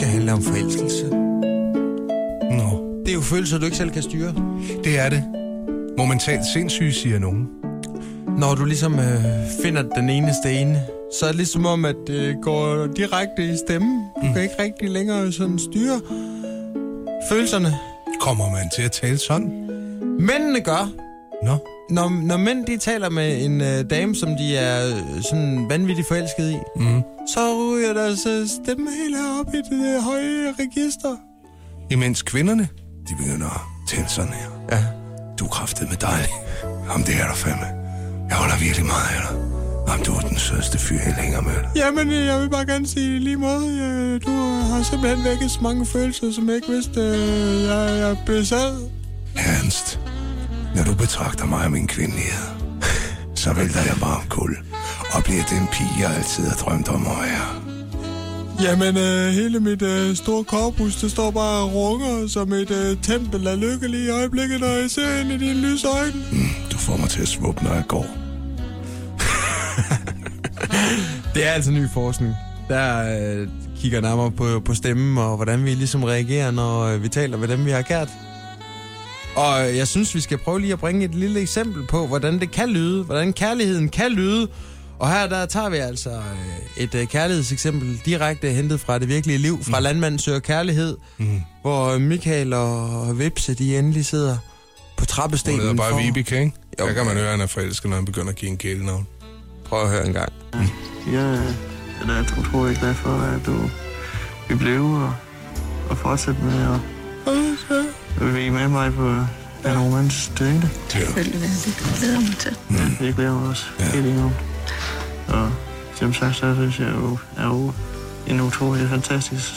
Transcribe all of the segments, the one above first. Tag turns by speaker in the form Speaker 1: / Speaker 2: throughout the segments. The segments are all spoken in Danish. Speaker 1: tale om forelskelse.
Speaker 2: Nå,
Speaker 1: Det er jo følelser, du ikke selv kan styre.
Speaker 2: det er det. Momentalt sindssyge, siger nogen.
Speaker 1: Når du ligesom øh, finder den eneste ene, så er det ligesom om, at det går direkte i stemmen. Du kan ikke rigtig længere sådan styre følelserne.
Speaker 2: Kommer man til at tale sådan?
Speaker 1: Mændene gør,
Speaker 2: Nå,
Speaker 1: når, når mænd de taler med en øh, dame, som de er øh, sådan vanvittigt forelsket i,
Speaker 2: mm.
Speaker 1: så ryger deres øh, stemme helt op i det øh, høje register.
Speaker 2: imens kvinderne, de begynder at tale sådan her.
Speaker 1: Ja.
Speaker 2: Du er kraftet med dejlig. Jamen, det er der fandme. Jeg holder virkelig meget af dig. Jamen, du er den sødeste fyr, jeg længere med dig.
Speaker 1: Jamen, øh, jeg vil bare gerne sige lige måde, øh, du øh, har simpelthen vækket så mange følelser, som jeg ikke vidste, øh, jeg, jeg besad.
Speaker 2: Ernst, når du betragter mig og min kvindelighed, så vælter jeg bare om kul og bliver den pige, jeg altid har drømt om at være.
Speaker 1: Jamen, øh, hele mit øh, store korpus, det står bare og runger som et øh, tempel af lykke lige i øjeblikket, når jeg ser ind i dine lysøjne.
Speaker 2: Du får mig til at svuppe, når jeg går.
Speaker 1: Det er altså ny forskning. Der øh, kigger nærmere på, på stemmen og hvordan vi ligesom reagerer, når øh, vi taler med dem, vi har kært. Og øh, jeg synes, vi skal prøve lige at bringe et lille eksempel på, hvordan det kan lyde, hvordan kærligheden kan lyde. Og her der tager vi altså øh, et øh, kærlighedseksempel direkte hentet fra det virkelige liv, fra mm. Landmanden Søger Kærlighed, mm. hvor øh, Michael og Vipse, de endelig sidder på trappestenen.
Speaker 2: Hun hedder bare
Speaker 1: for-
Speaker 2: Vibeke, ikke?
Speaker 1: Jo.
Speaker 2: Der kan man høre, at han er forelsket, når han begynder at give en kælenavn.
Speaker 1: Prøv at høre en gang.
Speaker 3: Jeg er da utrolig glad for, at du vil blive og, og fortsætte med at være med mig på den romantiske date.
Speaker 4: Selvfølgelig. Det glæder mig til.
Speaker 2: Mm.
Speaker 3: Jeg glæder mig også helt enormt. Og som sagt, så synes jeg jo, er jo en utrolig fantastisk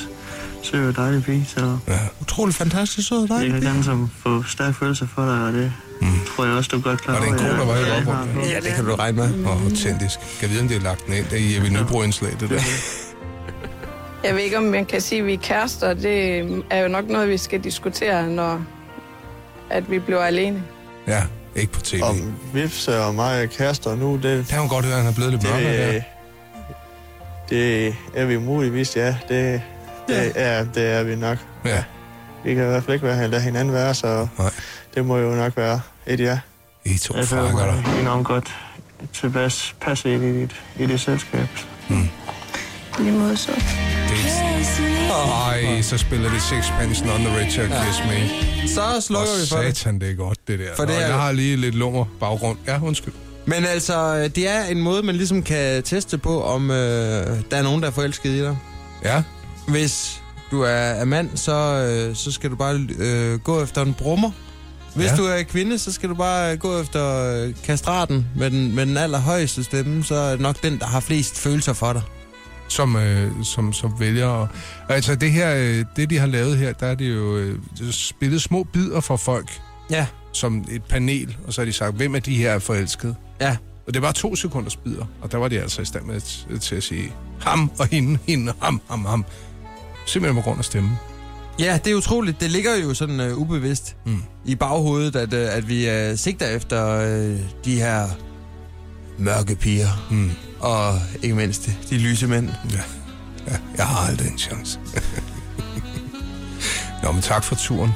Speaker 3: sød og dejlig pige, så
Speaker 1: Utrolig fantastisk sød af dig.
Speaker 3: jeg kan gerne som få stærke følelser for dig, og det tror jeg også, du godt klarer.
Speaker 2: Var Mm. det en kone, der var i baggrunden?
Speaker 1: Ja, det kan du regne med.
Speaker 2: Og autentisk. Kan vide, om det er lagt den ind der i Jeppe Nybro-indslag, det der.
Speaker 4: Jeg ved ikke, om man kan sige, at vi er kærester. Det er jo nok noget, vi skal diskutere, når at vi bliver alene.
Speaker 2: Ja, ikke på tv.
Speaker 5: Om Vipse og mig er kærester nu, det,
Speaker 2: Kan hun godt høre, at han er blevet lidt mørkere der.
Speaker 5: det, det er vi muligvis, ja. Det, det, er, det er vi nok.
Speaker 2: Ja,
Speaker 5: Vi kan i hvert fald ikke være, lade hinanden være, så
Speaker 2: nej.
Speaker 5: det må jo nok være et ja.
Speaker 2: I to
Speaker 3: Jeg føler
Speaker 2: frakker dig.
Speaker 3: mig enormt godt tilpas, passe ind i dit, i dit selskab.
Speaker 4: Lige måde så.
Speaker 2: Ej, så spiller det Sixpence on the Richard Kiss Me.
Speaker 1: Så slukker vi
Speaker 2: Og
Speaker 1: for det.
Speaker 2: satan, det er godt, det der.
Speaker 1: For det
Speaker 2: Nå,
Speaker 1: er jo-
Speaker 2: jeg har lige lidt lummer baggrund. Ja, undskyld.
Speaker 1: Men altså, øh, det er en måde, man ligesom kan teste på, om øh, der er nogen, der er forelsket i dig.
Speaker 2: Ja,
Speaker 1: Hvis du er, er mand, så, øh, så skal du bare øh, gå efter en brummer. Hvis
Speaker 2: Ja.
Speaker 1: ja. du er kvinde, så skal du bare øh, gå efter øh, kastraten med den, med den allerhøjeste stemme. Så er det nok den, der har flest følelser for dig.
Speaker 2: som, øh, som, som vælger. Og, altså det her, øh, det de har lavet her, der er det jo øh, spillet små bidder for folk,
Speaker 1: Ja,
Speaker 2: som et panel, og så har de sagt, hvem af de her er forelsket?
Speaker 1: ja.
Speaker 2: Og det var to sekunders bidder, og der var de altså i stand med t- til at sige ham og hende, hende, ham, ham, ham. Simpelthen på grund af stemmen.
Speaker 1: Ja, det er utroligt. Det ligger jo sådan øh, ubevidst
Speaker 2: Mm.
Speaker 1: mm. i baghovedet, at, øh, at vi øh, sigter efter øh, de her mørke piger.
Speaker 2: Mm.
Speaker 1: Og ikke mindst de lyse mænd.
Speaker 2: Ja. ja, jeg har aldrig en chance. Nå, men tak for turen.